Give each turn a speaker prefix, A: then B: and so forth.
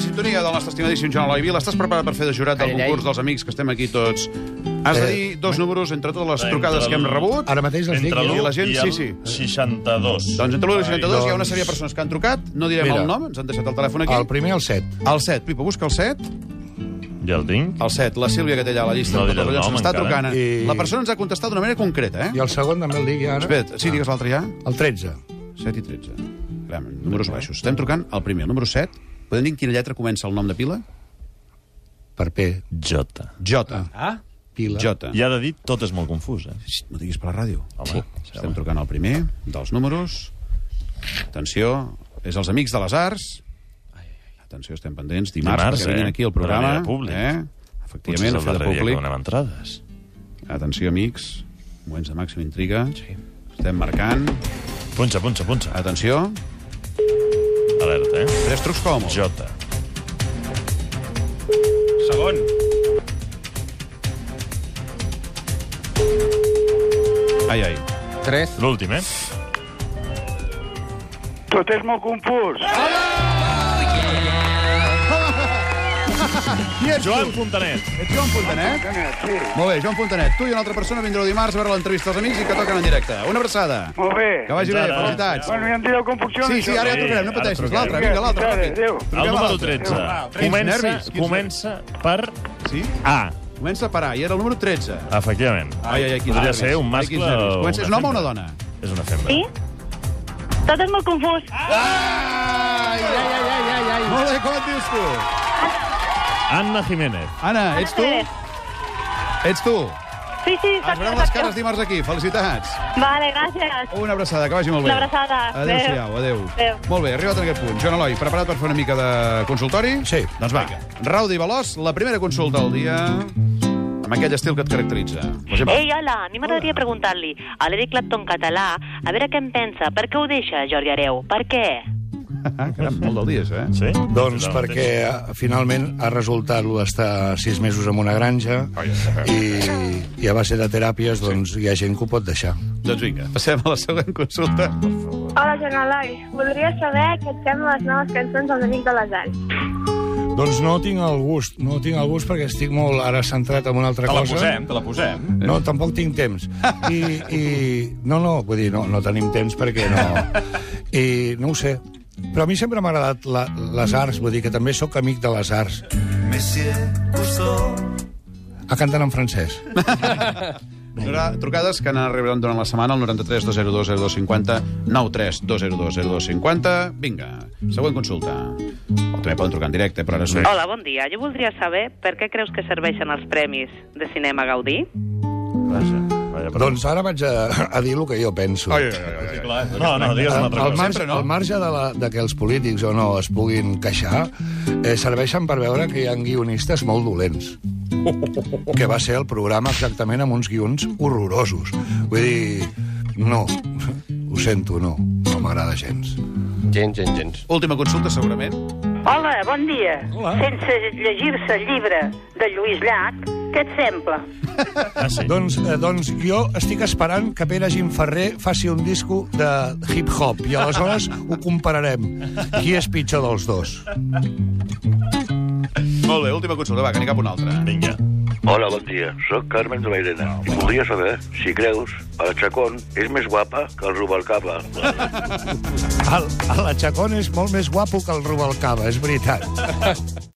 A: sintonia del nostre estimadíssim Joan Eloi Vila. Estàs preparat per fer de jurat del
B: Ai, ai.
A: concurs dels amics que estem aquí tots? Has de dir dos números entre totes les
C: Entre
A: trucades que hem
C: el-
A: rebut.
D: Ara mateix els dic.
C: Entre
A: I
C: l'1
A: la gent,
C: i
A: sí,
C: el
A: sí.
C: 62.
A: Doncs entre l'1 i el 62 hi ha una
C: Ai,
A: sèrie de persones que han trucat. No direm
D: Mira.
A: el nom, ens han deixat el telèfon aquí.
D: El primer, el 7.
A: El 7. Pipa, busca el 7.
C: Ja el tinc.
A: El 7. La Sílvia, que té allà la llista.
C: No
A: de
C: diré
A: tots els
C: el
A: allò,
C: nom,
A: Està
C: encara.
A: trucant. eh?
D: I-
A: La persona ens ha contestat d'una manera concreta,
D: I
A: eh?
D: el segon també el digui ara.
A: Espera't, sí, digues l'altre ja.
D: El 13.
A: 7 i 13. Clar, números baixos. Estem trucant al primer, el número 7. Podem dir en quina lletra comença el nom de pila?
D: Per P.
C: Jota.
A: Jota.
B: Ah?
D: Pila.
A: Jota.
C: I ara dit, tot és molt confús, eh?
A: Xxt, No diguis per la ràdio.
C: Home,
A: Estem trucant al primer dels números. Atenció, és els Amics de les Arts. Atenció, estem pendents. Dimarts,
C: Dimarts,
A: Dimarts perquè vinguin
C: eh?
A: aquí al
C: Per la
A: programa.
C: via de públic.
A: Eh?
C: Potser és
A: Efectivament,
C: el
A: a fer de
C: darrer dia que
A: públic.
C: donem entrades.
A: Atenció, amics. Moments de màxima intriga. Sí. Estem marcant.
C: Punxa, punxa, punxa.
A: Atenció.
C: Alerta, eh?
A: Tres trucs com a molt.
C: Jota.
E: Segon.
A: Ai, ai.
B: 3.
C: L'últim, eh?
F: Tot és molt confús.
A: Qui ets
C: Joan
A: tu?
C: Fontanet.
A: Ets Joan Fontanet?
F: Sí,
A: Molt bé, Joan Fontanet. Tu i una altra persona vindreu dimarts a veure l'entrevista als amics i que toquen en directe. Una abraçada.
F: molt
A: Que
F: bé.
A: vagi bé,
C: Fins ara.
A: felicitats.
F: Bueno, ja em direu com funciona
A: Sí,
F: això.
A: sí, ara ja
C: eh? Sí,
A: trucarem, no
C: ara
A: pateixis.
C: trucarem.
A: L'altre, vinga, l'altre,
F: Adéu,
A: ràpid.
F: adéu.
A: Truquem
C: El
A: a
C: número
A: l'altre.
C: 13.
A: Quins
C: Comença,
A: nervis, quins
C: comença per
A: Sí?
C: A.
A: Comença a parar, i era el número 13.
C: Efectivament.
A: Ai, ai, ai, quins
C: Podria
A: nervis.
C: ser un
A: Ai,
C: mascle
A: quins nervis.
C: o
A: Comença,
C: una
A: és un home o una
C: fembra.
A: dona?
C: És una fembra.
G: Sí? Tot és molt confús.
A: Ai, ai, ai, ai, ai, ai. Molt bé, com et dius tu?
C: Anna Jiménez.
A: Anna, ets tu?
G: Pérez.
A: Ets tu.
G: Sí, sí,
A: Ah, Es
G: exacte,
A: veurem les cares
G: exacte.
A: dimarts aquí. Felicitats.
G: Vale, gràcies.
A: Una abraçada, que vagi molt bé.
G: Una abraçada.
A: Adéu-siau, adéu.
G: Adéu.
A: Molt bé, arribat a aquest punt. Joan Eloi, preparat per fer una mica de consultori?
D: Sí.
A: Doncs va, rauda i veloç, la primera consulta del dia amb aquell estil que et caracteritza. Pues va.
H: Ei, hola, a mi m'agradaria preguntar-li a l'Eric Clapton català a veure què en pensa, per què ho deixa Jordi Areu, per què?
A: Ah, caram, molt del dia, això, eh?
C: Sí?
D: Doncs
C: Sí,
D: perquè eh, finalment ha resultat lo d'estar sis mesos en una granja i, i a base de teràpies doncs, hi ha gent que ho pot deixar.
A: Doncs vinga, passem a la següent consulta.
I: Hola, Joan Eloi. Voldria saber què et sembla les noves cançons dels Amics de les Arts.
D: Doncs no tinc el gust, no tinc el gust perquè estic molt ara centrat en una altra
E: Te la
C: eh?
D: cosa.
E: posem, te la posem.
D: No, tampoc tinc temps. I, i... No, no, vull dir, no, no tenim temps perquè no... I no ho sé. Però a mi sempre m'ha agradat la, les arts, vull dir que també sóc amic de les arts. A cantant en francès.
A: Hi haurà trucades que arribaran durant la setmana al 93 202 0250 93 202 0250 Vinga, següent consulta. O també poden trucar en directe, però ara és...
H: Hola, bon dia. Jo voldria saber per què creus que serveixen els premis de cinema Gaudí?
C: Vaja, vaja, perdó.
D: Doncs ara vaig a, a dir el que jo penso.
A: Ai, ai, ai, ai.
E: Clar,
C: No, no, digues una altra
D: Al
C: cosa.
D: marge, al marge de, la, de que els polítics o no es puguin queixar, eh, serveixen per veure que hi ha guionistes molt dolents. Que va ser el programa exactament amb uns guions horrorosos. Vull dir, no, ho sento, no, no m'agrada gens.
B: Gens, gens, gens.
A: Última consulta, segurament.
H: Hola, bon dia. Hola. Sense llegir-se el llibre de Lluís Llach, què et sembla?
C: Ah, sí.
D: Doncs, eh, doncs jo estic esperant que Pere Gimferrer faci un disco de hip-hop i aleshores ho compararem. Qui és pitjor dels dos?
A: Molt bé, última consulta, va, que n'hi cap una altra.
C: Vinga.
J: Hola, bon dia. Soc Carmen de la Irene. I voldria saber si creus que la Chacón és més guapa que el Rubalcaba.
D: El, el Chacón és molt més guapo que el Rubalcaba, és veritat.